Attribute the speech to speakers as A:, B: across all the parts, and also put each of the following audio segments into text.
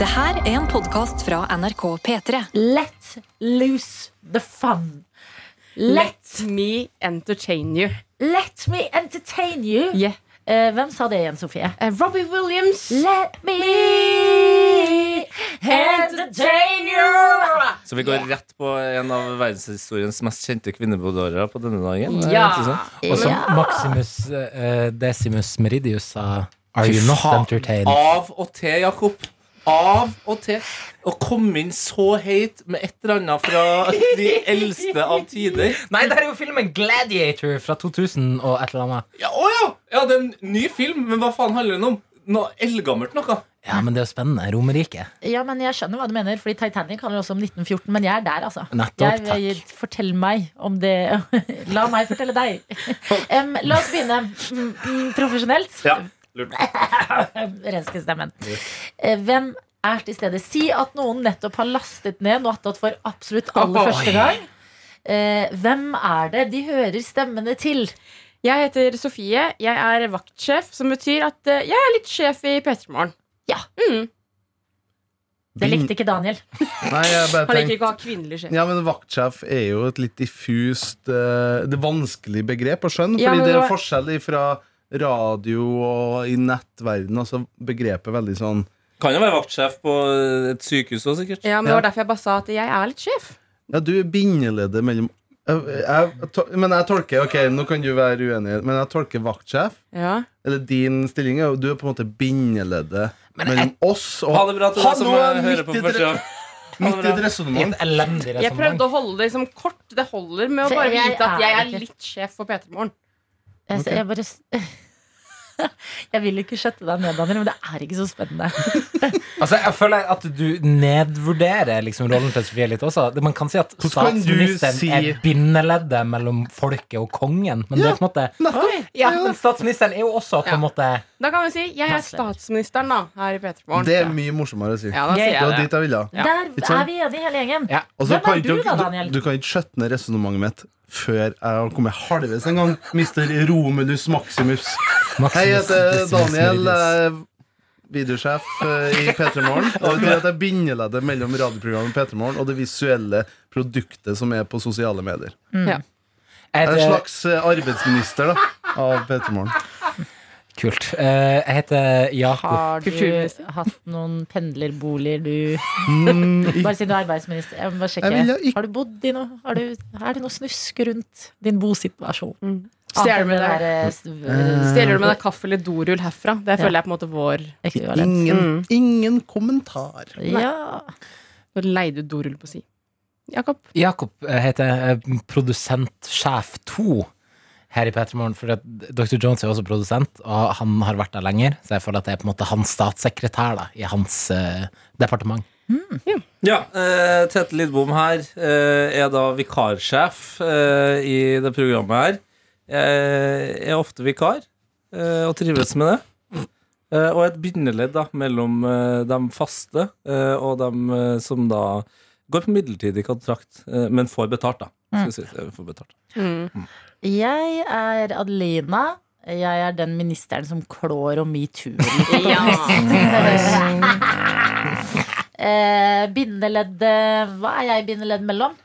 A: Det her er en podkast fra NRK P3.
B: Let loose the fun. Let,
C: Let me entertain you.
B: let me entertain you.
C: Yeah.
B: Eh, hvem sa det igjen, Sofie?
C: Eh, Robbie Williams.
B: Let me entertain you.
D: Så vi går rett på en av verdenshistoriens mest kjente kvinnebordårer på denne dagen. Det er
C: Ja.
D: rett og slett.
E: Og som
B: Ja.
E: Maximus eh, Decimus Meridius sa Are
D: Fy
E: you not
D: faen.
F: Ah.
E: entertained?
D: Av og til, Jakob. Av og til. Å komme inn så heit med et eller annet fra de eldste av tider.
E: Nei, det er jo filmen Gladiator fra 2000 og et eller annet.
D: Ja, å ja! ja, det er en ny film, men hva faen handler den om? Noe eldgammelt noe?
E: Ja, men det er jo spennende. Romerriket.
B: Ja, men Jeg skjønner hva du mener, Fordi Titanic handler også om 1914. Men jeg er der, altså.
E: Nettopp,
B: jeg, jeg, fortell meg om det La meg fortelle deg. Em, la oss begynne mm, mm, profesjonelt.
D: Ja, lurt.
B: Renske stemmen. Eh, Hvem er til stede? Si at noen nettopp har lastet ned noe attåt for absolutt aller første gang. Eh, Hvem er det de hører stemmene til?
C: Jeg heter Sofie. Jeg er vaktsjef, som betyr at eh, jeg er litt sjef i P3 Morgen.
B: Det likte ikke Daniel.
F: Nei, jeg
C: Han
F: bare
C: liker
F: tenkte
C: ikke å ha kvinnelig sjef.
F: ja, men Vaktsjef er jo et litt diffust eh, Det er vanskelig begrep å skjønne. Fordi
C: Ja, men
F: det
C: det
F: er
C: var-
F: forskjell fra radio og i nettverden. Altså begrepet er veldig sånn
D: Kan jo være vaktsjef på et sykehus òg, sikkert.
C: Ja, men Det
F: Ja.
C: var derfor jeg bare sa at jeg er litt sjef.
F: Ja, du er bindeleddet mellom jeg, jeg, to- Men jeg tolker Ok, nå kan du være uenig, men jeg tolker vaktsjef.
C: Ja.
F: Eller din stilling er jo Du er på en måte bindeleddet mellom oss og
D: Ha det bra til deg
F: Hallo,
D: som eh, hører på
F: midt i
D: første gang.
F: Midt i et
E: I
F: resonnement.
E: et elendig
F: sånn
C: Jeg prøvde
E: resonnement.
C: å holde det liksom kort. Det holder med å
B: For
C: bare
B: jeg
C: vite at
B: er
C: jeg
B: ikke-
C: er litt sjef for P3 Morgen.
B: Jeg, Eh, jeg bare s- Jeg vil ikke skjøtte deg ned, Daniel, men det er ikke så spennende.
E: Altså, jeg føler at du nedvurderer liksom, rollen til Sofie litt også. Det- Man kan si at
F: kan du
E: statsministeren
F: si-
E: er bindeleddet mellom folket og kongen, men det er på en måte
F: Nettopp.
E: Ja, men statsministeren er jo også på
C: Ja.
E: en måte
C: Da kan vi si jeg er
B: Nestleder.
C: statsministeren da, her i P3 Morgen.
F: Det er mye morsommere å si.
C: Ja, da
B: Gøy.
C: sier
F: Det var
C: jeg det.
F: dit jeg ville.
C: Ja.
B: Der
F: Ikke sant?
B: er vi enige, hele gjengen.
E: Ja.
F: Og så
B: Hvem
F: kan
B: er du
F: ikke-
B: da, Daniel?
F: Du, du kan ikke skjøtte ned resonnementet mitt før jeg har kommet halvveis en gang. Mister Romulus Maximus. Hei, jeg heter Daniel. eh, Videosjef eh, i P3 Morgen. Og det betyr at jeg er bindeleddet mellom radioprogrammet P3 Morgen og det visuelle produktet som er på sosiale medier.
E: Jeg
F: Jeg er
E: heter,
F: en slags eh, arbeidsminister da, av P3 Morgen.
E: Kult. Eh, jeg heter Jakob.
C: Har du
B: Kulturminister. Hatt noen pendlerboliger, du
F: Mm,
B: Bare siden du er arbeidsminister. Jeg må bare sjekke.
F: Jeg vil jo ikke-
B: Har du bodd i noe? Har du, er det noe snusk rundt din bosituasjon?
C: Mm.
B: Annet
C: Stjeler
B: enn
C: du med
B: den
C: deg
B: der, eh, sv-
C: Stjeler du med deg kaffe eller dorull herfra? Det føler jeg er på en måte vår
B: ekvivalent?
F: ingen, ingen kommentar.
B: Ja.
C: Når leide du dorull på si? Jakob?
E: Jakob eh, heter eh, produsentsjef 2 her i Petremorgen, for at Dr. Jones er også produsent, og han har vært der lenger, så jeg føler at jeg er på en måte hans statssekretær da, i hans eh, departement.
D: Ja, eh, Tete Lidbom her eh, er da vikarsjef eh, i det programmet her. Jeg er ofte vikar eh, og trives med det. Eh, og et bindeledd da, mellom eh, de faste eh, og de eh, som da går på midlertidig kontrakt, eh, men får betalt, da. Skal jeg si, eh, får betalt.
C: Mm.
B: Jeg er Adelina. Jeg er den ministeren som klår om metoo. Eh, bindeledd eh, Hva er jeg bindeledd mellom?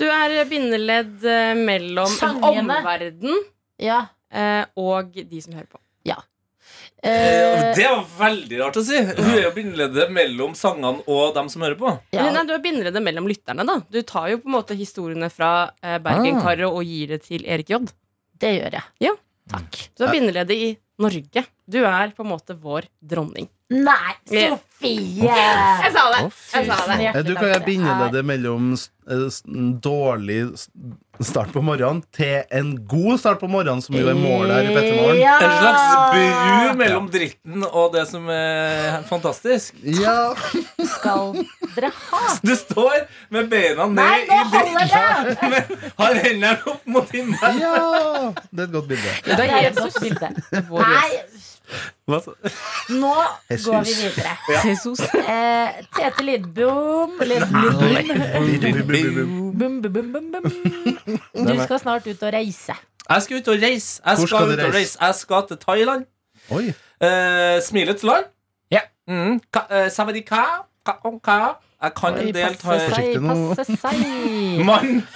C: Du er bindeledd eh, mellom
B: Sangene.
C: omverden
B: Ja.
C: eh, og de som hører på.
B: Eh,
D: det var veldig rart å si! Hun er jo bindeleddet mellom sangene og dem som hører på.
B: ja.
C: Eller, nei, du er bindeleddet mellom lytterne. da Du tar jo på en måte historiene fra eh, Bergenkaret og gir det til Erik J.
B: Det gjør jeg.
C: Ja.
B: Takk.
C: Du er bindeleddet i Norge. Du er på en måte vår dronning.
B: Nei,
C: Ja.
B: Sofie!
C: Jeg sa det!
D: Å, fy
C: Jeg sa det.
B: Tusen
F: Eh, Du kan
B: hjertelig
F: jo
B: takk.
F: binde det mellom s- eh, s- en dårlig s- start på morgenen til en god start på morgenen, som jo er målet her i Pettermorgen.
B: Ja!
D: En
B: Ah.
D: slags bru mellom dritten og det som er fantastisk.
F: Ja.
B: Skal dere ha?
D: Du står med beina ned
B: Nei, nå
D: i dritten,
B: holder det!
D: men har hendene opp mot himmelen.
F: ja! Det er et godt bilde.
C: Det
B: Det
C: er
B: er et
C: Jesus.
B: godt bilde.
C: Vår
B: Nei,
D: Hva så-
B: nå
F: Jesus.
B: går vi videre.
C: Jesus.
B: Eh, Tete Lidbom Lidbom, bum, bum, bum, bum, bum. Du skal snart ut og reise.
D: Jeg skal ut og reise. Jeg skal,
F: Hvor skal du
D: ut og
F: reise?
D: reise. Jeg skal til Thailand.
F: Oi.
D: Eh, smilets land.
E: Ja.
D: Mm. Ka, eh, sawadika, ka, om ka. Jeg kan en
B: Oi,
D: del
B: passe
D: thai-
B: seg,
F: Forsiktig nå.
B: passe seg.
D: Man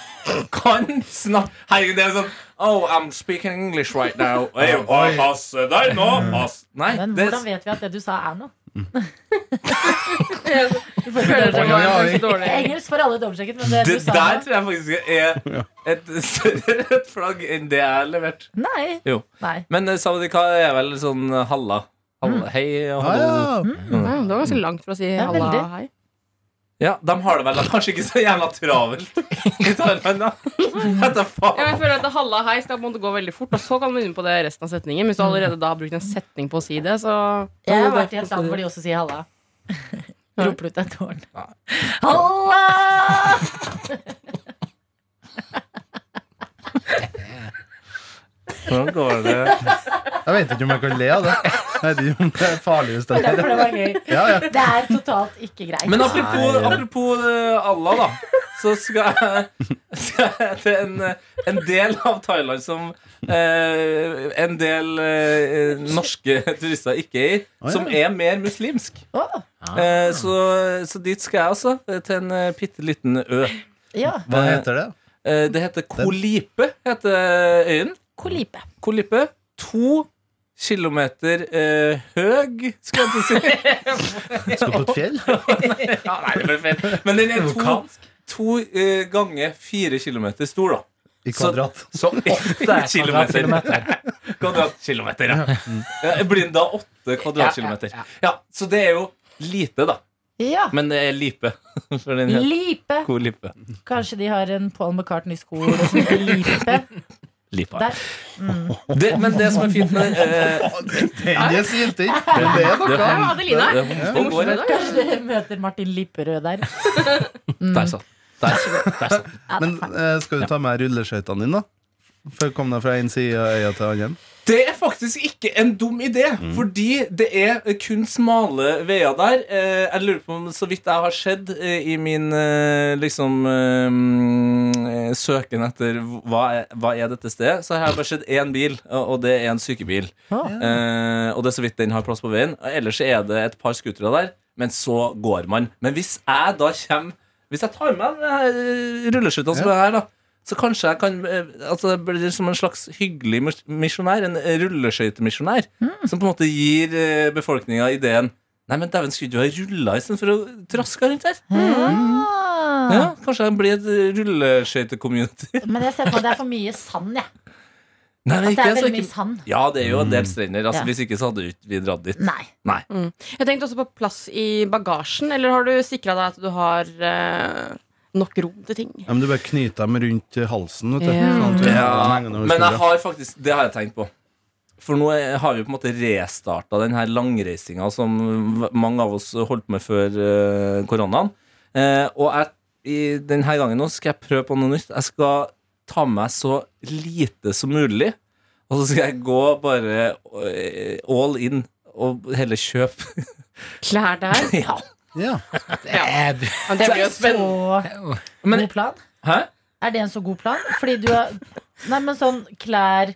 D: kan snakke Herregud, det er sånn Oh, I'm speaking English right now. Hey, oh, pass deg nå, pass Nei,
B: Men
D: det,
B: hvordan vet vi at det du sa, er noe?
C: Jeg føler det var kanskje dårlig.
B: Engelsk for alle domsjekket, men det,
D: det
B: du sånn? sa
D: der
B: nå-
D: tror jeg faktisk er et større rødt flagg enn det jeg har levert.
B: Nei.
D: Jo.
B: Nei.
D: Men eh, Sawadika er vel sånn eh, halla. halla. Hei og
F: Ja, Mm.
D: hallo.
F: ja.
C: Ja, det var ganske langt for å si
B: Ja,
C: halla
B: veldig.
C: hei.
D: Ja, de har det vel kanskje ikke så jævla travelt i Thailand, da. Vet da
C: Ja, men
D: faen.
C: jeg føler at det halla hei skal på en måte gå veldig fort, og så kan du begynne på det resten av setningen. Hvis du allerede da har brukt en setning på å si det, så
B: Jeg har vært i et land hvor de også sier halla.
C: Ja.
B: Roper ut et tårn. Halla!
D: Hvordan går det?
F: Jeg vet ikke om jeg kan le av det. Jeg vet ikke om det er farlig hvis det er
B: Derfor det var gøy.
F: ja, ja.
B: Det er totalt ikke greit.
D: Men apropos, apropos eh, Allah, da. Så skal jeg, skal jeg til en, eh, en del av Thailand som eh, en del eh, norske turister ikke er i,
F: Å, ja.
D: som er mer muslimsk.
B: Å,
D: Eh, så, så dit skal jeg også, eh, til en eh, bitte liten ø.
B: ja.
F: Hva heter det?
D: Eh, det heter Kolipe, heter øyen.
B: Kolipe.
D: Kolipe. To kilometer eh, høg, skal jeg til å si.
F: Skal på et fjell?
D: Ja, nei, det ble feil. Men den er to, to eh, ganger fire kilometer stor, da.
F: I kvadrat.
D: Så åtte kilometer. Kvadratkilometer, ja. ja. Blir det da åtte kvadratkilometer? Ja, så det er jo lite, da.
B: Ja.
D: Men det er lipe. For den heter
B: Lipe.
D: god lipe.
B: Kanskje de har en Paul McCartney-skole som heter Lipe.
D: Lipa.
B: Der.
D: Det, men det som er fint med eh,
F: Den er syltig. Men det er
D: Det
F: noe.
D: er-
C: Ja, Adeline!
D: det er homse
C: Det er
D: og går.
C: morsomt i dag.
B: Kanskje dere møter Martin Lipperød der.
D: Der satt der, satt- der satt.
B: Ja, det
F: Men
B: er feil.
F: eh, skal du ta med rulleskøytene dine, da? For å komme deg fra en side av øya til den andre?
D: Det er faktisk ikke en dum idé, fordi det er kun smale veier der. Eh, Jeg lurer på om så vidt jeg har sett eh, i min eh, liksom eh, mm, eh, søken etter hva er, hva er dette stedet, så har jeg bare sett én bil, og og det er en sykebil.
B: Å.
D: Eh, Og det er så vidt den har plass på veien. Og Ellers er det et par skutere der, men så går man. Men hvis jeg da kommer Hvis jeg tar med de her, eh, rulleskøytene som
F: Ja.
D: er her, da så kanskje jeg kan eh, altså, jeg blir som en slags hyggelig mis- misjonær, en eh, rulleskøytemisjonær,
B: Mm.
D: som på en måte gir eh, befolkninga ideen Nei, men dæven, skulle du ha rulla istedenfor å traske rundt her?
B: Ah.
D: Ja, Kanskje jeg blir et eh, rulleskøyte-community?
B: Men jeg ser på at det er for mye sand, jeg.
D: Nei,
B: At
D: men
B: det
D: ikke
B: er
D: så
B: veldig mye
D: ikke
B: sand.
D: Ja, det er jo en del strender. Altså,
B: Ja.
D: Hvis ikke så hadde vi ikke- vi dratt dit.
B: Nei.
D: Nei.
C: Jeg tenkte også på plass i bagasjen. Eller har du sikra deg at du har eh, nok rom til ting?
F: Ja, men du bare knyter dem rundt eh, halsen. Vet du.
C: Ja.
F: Sånn at du
D: Ja,
F: henger over
D: men jeg
F: skuldra.
D: har faktisk Det har jeg tenkt på. For nå er- har vi på en måte restarta den her langreisinga som v- mange av oss holdt med før eh, koronaen. Eh, og jeg, i denne gangen nå skal jeg prøve på noe nytt. Jeg skal ta med meg så lite som mulig. Og så skal jeg gå bare eh, all in og heller kjøpe.
C: Klær der.
D: ja.
F: Ja.
E: Eh, du-
C: Men det blir jo spennende.
B: Så
D: Men-
B: god plan.
D: Hæ?
B: Er det en så god plan? Fordi du har Nei, men sånn klær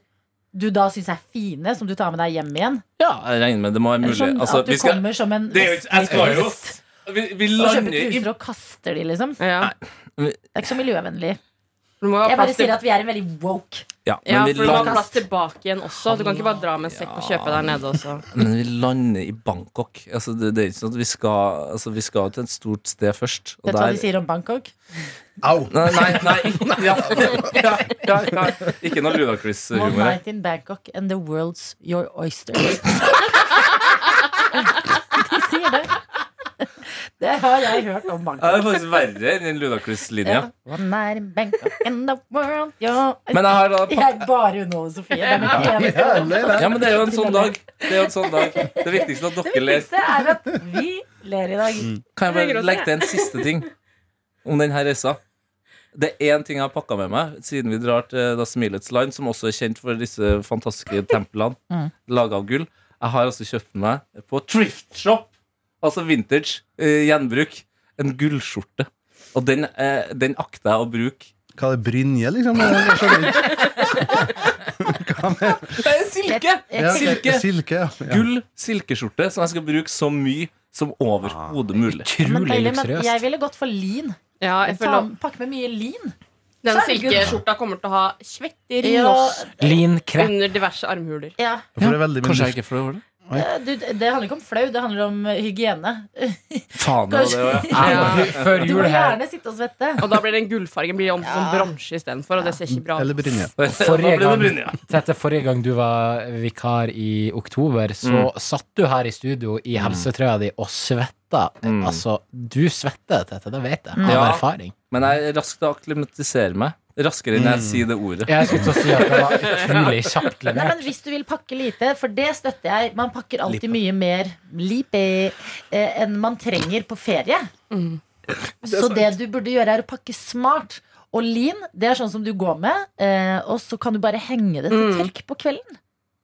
B: du da syns er fine, som du tar med deg hjem igjen?
D: Ja, jeg regner med det må være
B: Eller
D: mulig.
B: sånn
D: Altså,
B: at du
D: vi skal,
B: kommer som en
D: det er jo ikke- jeg skal jo-
B: vestlig turist
D: vi, vi
B: og kjøper
D: lander i
B: truser og kaster de, liksom.
C: Ja.
B: Det er ikke så miljøvennlig.
C: Du må jo ha
B: Jeg bare
C: plass til
B: sier at vi er en veldig woke.
D: Ja, men
C: ja,
D: vi
C: for du må ha
D: lander
C: plass tilbake igjen også. Du kan ikke bare dra med en sekk og kjøpe der nede også.
D: Men vi lander i Bangkok. Altså, det, det er ikke sånn at vi skal altså, Vi skal til et stort sted først. og
B: Vet du hva de
D: der-
B: sier om Bangkok?
F: Au!
D: Nei, nei, nei. Ja, ja, ja, ja. Ikke noe
B: One
D: Ludacris-humor her.
B: night in Bangkok and the world's your oyster. de sier det. Det har jeg hørt om
D: Ja, Det
B: Bangkok.
D: er faktisk verre enn den Ludacris-linja.
B: One night in Bangkok and the world your oyster.
D: Men jeg har da
B: Jeg bare underholder Sofie. Det er mitt eneste
F: Ja, eller det.
D: Ja, men det er jo en sånn dag. Det er jo en sånn dag Det viktigste er at dere ler.
B: viktigste er at vi ler i dag.
F: Mm.
D: Kan jeg bare legge til en siste ting om denne reisa? Det er én ting jeg har pakka med meg siden vi drar til da Smilets land, som også er kjent for disse fantastiske templene
B: Mm.
D: laga av gull. Jeg har også kjøpt meg på Thrift Shop, altså vintage, eh, gjenbruk, en gullskjorte. Og den, eh, den akter jeg å bruke.
F: Hva er det, brynje, liksom? Jeg skjønner ikke.
D: Det er silke!
F: Ja,
D: Silke.
F: Silke, ja. ja.
D: Gull silkeskjorte som jeg skal bruke så mye som overhodet mulig.
B: Men
E: Utrolig
B: deilig, men jeg
E: luksuriøst.
B: ville gått for lin.
C: Ja, jeg
B: Ta,
C: føler
B: pakke med mye lin.
C: Den
B: Herregud.
C: silkeskjorta kommer til å ha svetter
B: Ja.
E: Lean crepe.
C: under diverse armhuler.
B: Ja,
F: For det er veldig mye
D: Kanskje jeg
F: luft.
D: ikke får det?
B: eh, du, det handler ikke om flau, det handler om eh, hygiene.
D: Faen, det var det også, ja.
E: Au, Før
B: Du må
E: jul her.
B: gjerne sitte og svette.
C: Og da blir den gullfargen blir om til sånn bronse istedenfor, og det ser ikke bra
F: Eller
C: ut.
F: brynje.
D: Da ble
E: Forrige
D: det
E: gang,
D: Brynja.
E: Tete, forrige gang du var vikar i oktober, så satt du her i studio i helsetrøya di og svetta.
D: Mm.
E: Altså, du svetter, Tete. Det vet jeg. Av
D: Ja.
E: erfaring.
D: Men jeg er rask til å akklimatisere meg. Raskere enn jeg sier det ordet.
E: Jeg skulle til å si at det var utrolig kjapt
B: Nei, men
E: levert.
B: Hvis du vil pakke lite, for det støtter jeg Man pakker alltid
E: Lipe.
B: mye mer lipe, eh, enn man trenger på ferie. så det du burde gjøre, er å pakke smart. Og lin det er sånn som du går med, eh, og så kan du bare henge det til
C: Mm.
B: tørk på kvelden.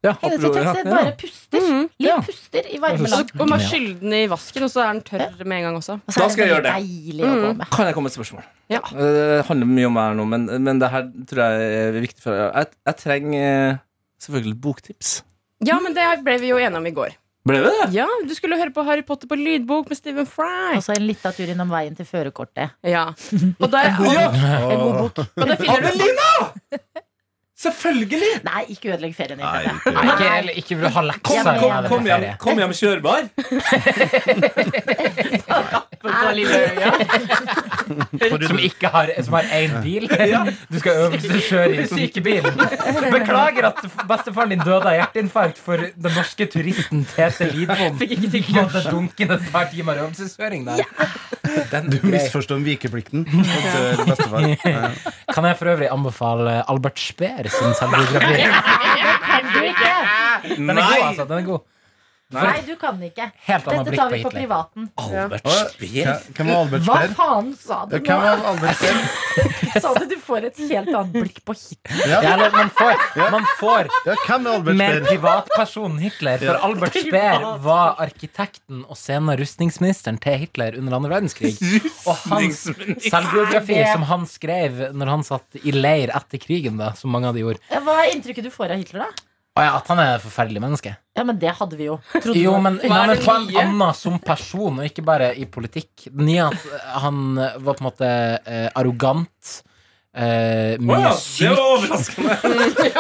D: Ja,
B: Henge det til
D: ja,
B: tørk, det
D: ja.
B: bare puster.
C: Mhm.
B: Lin
E: Ja.
B: puster i
E: Ja.
B: varmeland.
C: Og man bare skylle den i vasken, og så er den tørr med en gang også.
B: Og så
D: Da
B: er
D: skal jeg
B: veldig
D: gjøre
B: Deilig å gå med.
D: Kan jeg komme med et spørsmål?
C: Ja.
D: Eh, Det handler mye om meg her nå, men, men det her tror jeg er viktig for Jeg, jeg trenger eh, selvfølgelig boktips.
C: Ja, men det ble vi jo enige om i går.
D: Ble vi det?
C: Ja, Du skulle høre på Harry Potter på lydbok med Stephen Fry.
B: Og så en liten tur innom veien til førerkortet.
C: Ja. Og der,
B: En god bok.
C: og der finner du
D: Adelina! Selvfølgelig!
B: Nei, ikke ødelegg ferien din.
F: Nei,
B: Tete.
F: ikke
E: Nei, ikke, eller ikke vil du ha lekser.
B: Kom,
E: når
D: Kom,
E: jeg er
D: kom,
E: på
D: hjem,
E: ferie.
D: kom hjem kjørbar.
C: på lille øya.
E: Som ikke har, som har én bil. Du skal øve til å kjøre i sykebilen. Beklager at bestefaren din døde av hjerteinfarkt for den norske turisten Tete Lidbom. Fikk ikke til å dunke et par timer øvelseskjøring der.
F: Du misforstår om vikeplikten. Og dør bestefar. Ja.
E: Kan jeg for øvrig anbefale Albert Speer sin selvbiografi?
B: Kan du ikke?
E: Den er god, altså. Den er god.
B: Nei, du kan ikke.
E: Helt
B: Dette
E: annet blikk
B: tar
E: på
B: vi på
E: Hitler.
B: privaten.
D: Albert
F: Åh,
D: Speer.
F: Hvem var Albert
B: Hva
F: Speer?
B: faen sa du
F: Ja, Hvem
B: nå?
F: var Albert Speer?
B: Sa du du får et helt annet blikk på Hitler?
E: Ja, eller man får, man får
F: Ja, hvem er Albert
E: med
F: Speer?
E: privatpersonen Hitler. For Albert Speer var arkitekten og senere rustningsministeren til Hitler under andre verdenskrig. Og hans selvbiografi,
B: Er det-
E: som han skrev når han satt i leir etter krigen, da, som mange av de gjorde
B: Hva er inntrykket du får av Hitler, da?
E: Å ja, at han er et forferdelig menneske.
B: Ja, men det hadde vi jo. Trodde
E: Jo,
B: du-
E: men,
C: Hva er
E: men
C: det
E: på en
C: nye?
E: annen som person, og ikke bare i politikk. Den nye at eh, han var på en måte eh, arrogant. Eh,
D: Å
E: mye
D: ja, det
E: syk.
D: var overraskende.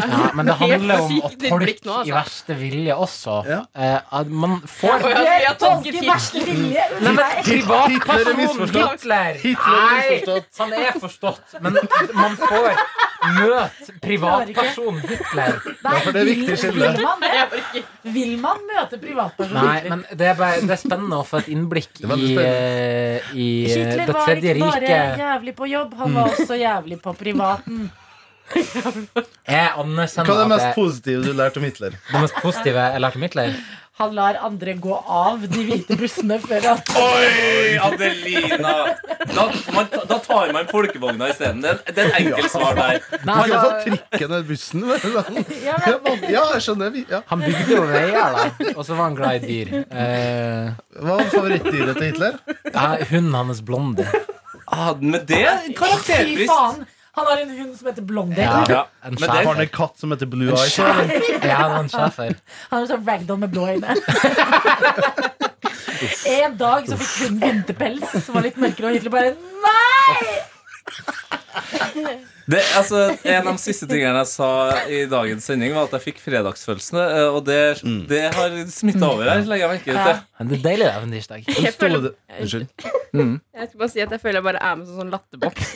E: Ja, men det
C: Helt
E: handler om
C: sykt
E: at
C: ditt
E: folk
C: blikk nå, altså.
E: i verste vilje også
F: Ja.
E: eh, at Man får
C: Og jeg, jeg tolket
B: Tolke
C: Hitler.
B: verste vilje.
E: Nei, men
F: Hitler er
E: privatpersonen
F: misforstått.
E: Hitler!
F: Hitler er misforstått.
E: han er forstått, men man får møte privatpersonen Hitler.
B: Nei,
F: for det er
B: vil-
F: viktig skille.
B: Vil man, det? vil man møte privatpersoner?
E: Nei, men det er, bare, det er spennende å få et innblikk
F: er veldig
E: i, eh, i eh,
B: Hitler
E: det
B: var
E: tredje
B: ikke bare
E: riket.
B: jævlig på jobb, han var også jævlig på privaten.
E: Jeg
F: Hva er det
E: anerkjenner at
F: mest
E: det,
F: positive du lærte om Hitler?
E: det mest positive jeg lærte om Hitler
B: Han lar andre gå av de hvite bussene før han
D: Oi, Adelina! Da, man, da tar man folkevogna isteden. Det er en- det er et enkelt svar der.
E: Nei,
F: Han sa
E: altså,
F: trikken og bussen. men han-
B: Ja,
F: Ja,
B: men
F: man- ja, jeg skjønner. vi- Ja.
E: Han bygde jo veier, da. Og så var han glad i dyr. Eh,
F: Hva var favorittdyret til Hitler?
E: ja, hunden hans Blondie.
D: Ah, med det
B: fy
D: karakterbrist.
B: faen! Han har en hund som heter Blondie.
E: Ja,
D: Ja,
E: en
D: men det-
F: Har han
E: schæfer.
F: en katt som heter Blue
E: En
F: Eyes?
E: schæfer. Ja, han var en schæfer.
B: Han er sånn ragdoll med blå øyne. en dag så fikk hun vinterpels som var litt mørkere, og Hitler bare Nei!
D: Det, altså, en av de siste tingene jeg sa i dagens sending, var at jeg fikk fredagsfølelsene. eh, Og det,
F: Mm.
D: det har smitta over her, legger jeg merke til.
E: Men det er deilig, det, på en tirsdag.
C: Jeg
F: Sto
C: føler-
F: det- Unnskyld.
C: Jeg skal bare si at jeg føler jeg bare er med som sånn latterboks.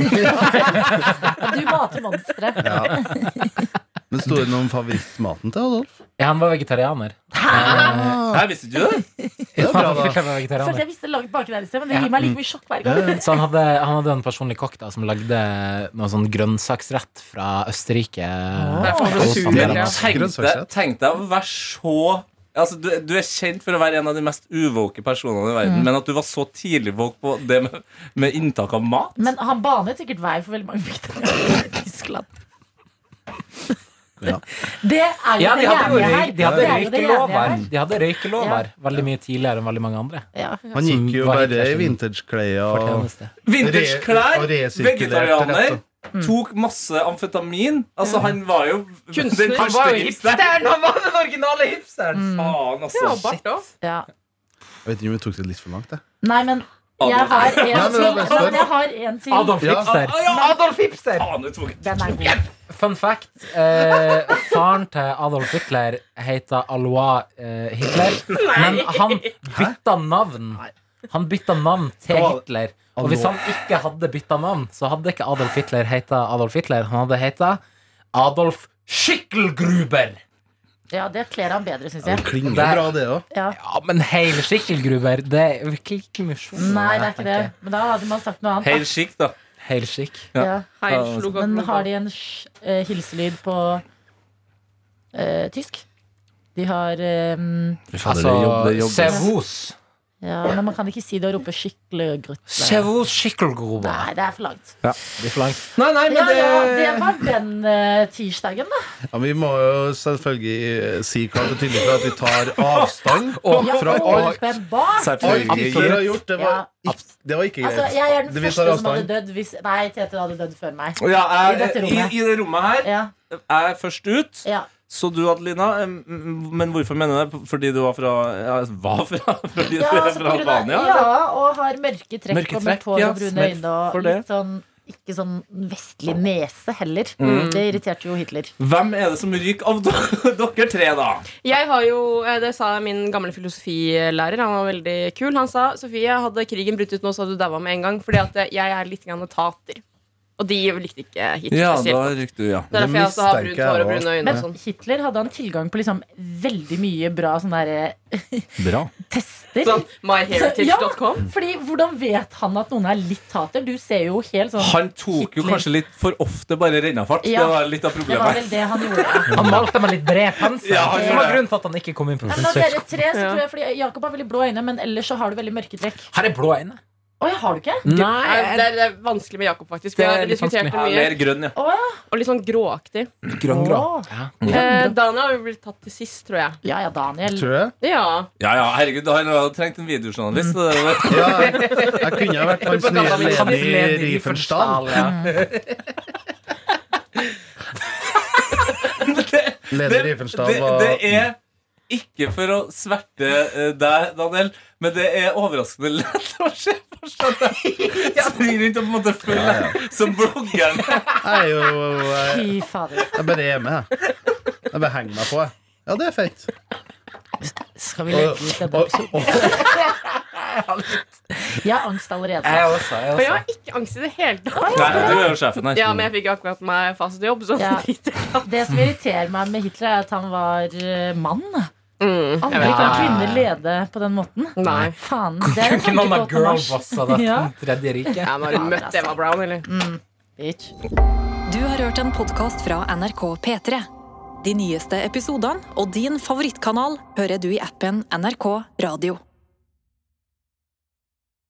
B: Du mater monstre.
F: Ja. Men sto det noe om favorittmaten til Adolf?
E: Ja, han var vegetarianer. Eh,
D: Nei, visste ikke du det?
F: Det er bra,
E: Han
F: da.
E: fikk være vegetarianer.
B: Følte jeg visste langt baki der i sted, men det gir meg like mye sjokk hver gang.
E: Så han hadde, han hadde en personlig kokk da som lagde noe sånn grønnsaksrett fra Østerrike.
F: Ah.
C: Derfor var det
E: Og
C: sur,
E: sånn.
C: ja.
D: Tenk deg,
F: Grønnsaksrett.
D: tenk deg å være så Altså, du, du er kjent for å være en av de mest uvåke personene i verden,
G: Mm.
D: men at du var så tidlig våk på det med, med inntak av mat
B: Men han banet sikkert vei for veldig mange vegetarianere i Tyskland.
F: Ja.
B: Det er jo
E: Ja, de
B: det
E: hadde,
B: jævlige
E: jo
B: her.
E: røy, de hadde
B: Det er jo det jævlige
E: røykelover.
B: her.
E: De hadde røykelover Veldig mye tidligere enn veldig mange andre.
B: Ja.
F: Han gikk jo
E: Som var
F: bare i
E: Hitlers-
F: vintageklær og
E: Fortjeneste.
D: Vintersklær,
F: Re- og resirkulerte
D: vegetarianer
F: rett
G: Mm.
D: Tok masse amfetamin. Altså, han var jo
C: Kunstner.
D: den
G: Han var
D: første
G: jo
D: hipsteren.
G: hipsteren! Han var den originale hipsteren!
D: Faen,
C: Ja,
D: altså.
C: bart òg.
B: Ja.
F: Jeg vet ikke om vi tok det litt for langt, jeg.
B: Nei, men jeg har en
F: Nei, men det
B: til.
F: er best.
B: Men jeg har en til.
E: Adolf
F: Ja.
E: Hipster.
G: Adolf Hipster!
D: Faen, du tok
B: Den er god.
E: Fun fact. Eh, faren til Adolf Hitler heter Alois eh, Hitler, men han bytta navn. Han bytta navn til
F: Hva var det?
E: Hitler. Og hvis han ikke hadde bytta navn, så hadde ikke Adolf Hitler heta Adolf Hitler. Han hadde heta Adolf Schickelgruber.
B: Ja, det kler han bedre, syns
F: Det
B: jeg.
F: klinger
E: Der.
F: bra, det òg.
B: Ja.
E: Ja, men hele Schickelgruber, det er virkelig ikke misjon.
B: Nei, det er ikke det. Men da hadde man sagt noe
D: Helt
B: annet.
D: skikk, da.
E: Helt skikk.
B: da. Ja.
C: Heil slo godt
B: Men
C: mot
B: har de en sj- eh, hilselyd på eh, tysk? De har eh,
E: Altså, Sevos.
B: Ja, men man kan ikke si det og rope 'skikkelig grutt'.
E: Sevos Schickelgruber.
B: Nei, det er for langt.
E: Det blir for langt.
D: Nei, nei, men
B: Ja,
D: det
B: ja, det var den eh, tirsdagen, da.
F: Ja, vi må jo selvfølgelig eh, si klart og tydelig fra at vi tar avstand
B: Ja,
F: fra alt
B: åpenbart.
F: alt
D: Selvfølgelig.
F: Hitler har gjort. Det var,
B: Ja.
F: ikke- det var ikke greit.
B: Altså, jeg er den
F: Det- vi tar
B: første som hadde
F: avstand.
B: dødd hvis Nei, Tete hadde dødd før meg.
D: ja,
B: I
D: jeg,
B: dette
D: i,
B: rommet.
D: I det rommet her
B: Ja,
D: er jeg først ut.
B: ja.
D: Så du, Adelina. em, mm, Men hvorfor mener du det? Fordi du var fra ja, Var fra, fordi
B: ja,
D: du er
B: altså, på
D: fra
B: grunn av,
D: Albania?
B: ja, og har mørke trekk,
D: Mørke
B: og mørkt
D: trekk,
B: hår
D: ja,
B: og brune
D: smell
B: øyne.
D: for
B: Og
D: det.
B: litt sånn, ikke sånn vestlig nese heller.
D: Mm.
B: Det irriterte jo Hitler.
D: Hvem er det som ryker av do- dere tre, da?
C: Jeg har jo, eh, Det sa min gamle filosofilærer. Han var veldig kul. Han sa Sofie, hadde krigen brutt ut nå, så hadde du daua med en gang. Fordi at eh, jeg er litt grann tater. Og de likte ikke Hitler spesielt.
D: ryker du, ja.
C: Det er derfor jeg også har
F: mistenker
C: brunt
F: jeg
C: hår og
F: også.
C: brune øyne.
B: Men
C: og sånn.
B: Hitler hadde han tilgang på liksom veldig mye bra sånne der, eh,
D: Bra.
B: tester.
C: Sånn myheritage.com.
B: Fordi hvordan vet han at noen er litt hater? Du ser jo helt sånn
D: Han tok jo
B: Hitler.
D: kanskje litt for ofte bare rennafart.
B: Ja.
D: Det var litt av
B: Det var vel
D: problemet.
B: det han gjorde.
E: Han malte meg litt bred pensel.
D: Ja, han
E: det
D: gjorde
E: var
D: det.
E: grunnen til at han ikke kom inn på
B: Ja, Men av dere
E: frisørskolen.
B: tre, så
C: Ja.
B: tror jeg, fordi Jakob har veldig blå øyne, men ellers så har du veldig mørke trekk.
E: Har jeg blå øyne?
B: Oi, har du ikke?
E: Nei.
C: Nei, det, er, det er vanskelig med Jakob, faktisk. Vi
E: Det er
C: har
E: litt
C: diskutert det
E: vanskelig.
D: Ja,
C: mye.
D: mer grønn, ja.
B: Å ja.
C: Og litt sånn gråaktig.
E: Grønn-grå.
B: Åh.
E: Ja.
C: Eh, Daniel har jo blitt tatt til sist, tror jeg.
B: Ja ja, Daniel.
F: Tror jeg.
C: Ja.
D: Ja, ja, herregud, han hadde trengt en videojournalist. det-
F: Ja, jeg, jeg kunne ha vært hans nye
E: Hans
F: leder
E: leder
F: i
E: Riefenstahl,
F: Riefenstahl.
E: ja.
F: Leder i Riefenstahl
D: det,
F: var
D: det er ikke for å sverte eh, deg, Daniel, men det er overraskende lett å se for seg deg springe rundt og på en måte følge deg som bloggeren.
F: Jeg er jo jeg,
B: Fy fader.
F: jeg bare er med, jeg. Jeg bare henger meg på, jeg. Ja, det er fett.
B: Skal vi leke litt
F: Og,
B: Edda?
F: og, og,
B: Jeg har angst allerede.
E: Jeg også. Jeg
C: Og jeg
E: også.
C: har ikke angst i det hele tatt.
D: Nei, du er jo sjefen her.
C: Ja, men jeg fikk jo akkurat meg fast jobb, så
B: Ja.
C: drit i det.
B: Det som irriterer meg med Hitler, er at han var eh, mann.
C: Mm.
B: Aldri
E: Ja.
B: kan kvinner lede på den måten.
C: Nei.
B: Faen. Det er en
E: Ikke noen av
B: tankekåt nach.
E: girlbossa det
B: Ja.
E: tredje riket.
C: Ja, men har du møtt Eva Brown, eller?
B: Bitch.
A: Du har hørt en podkast fra NRK P3. De nyeste episodene og din favorittkanal hører du i appen NRK Radio.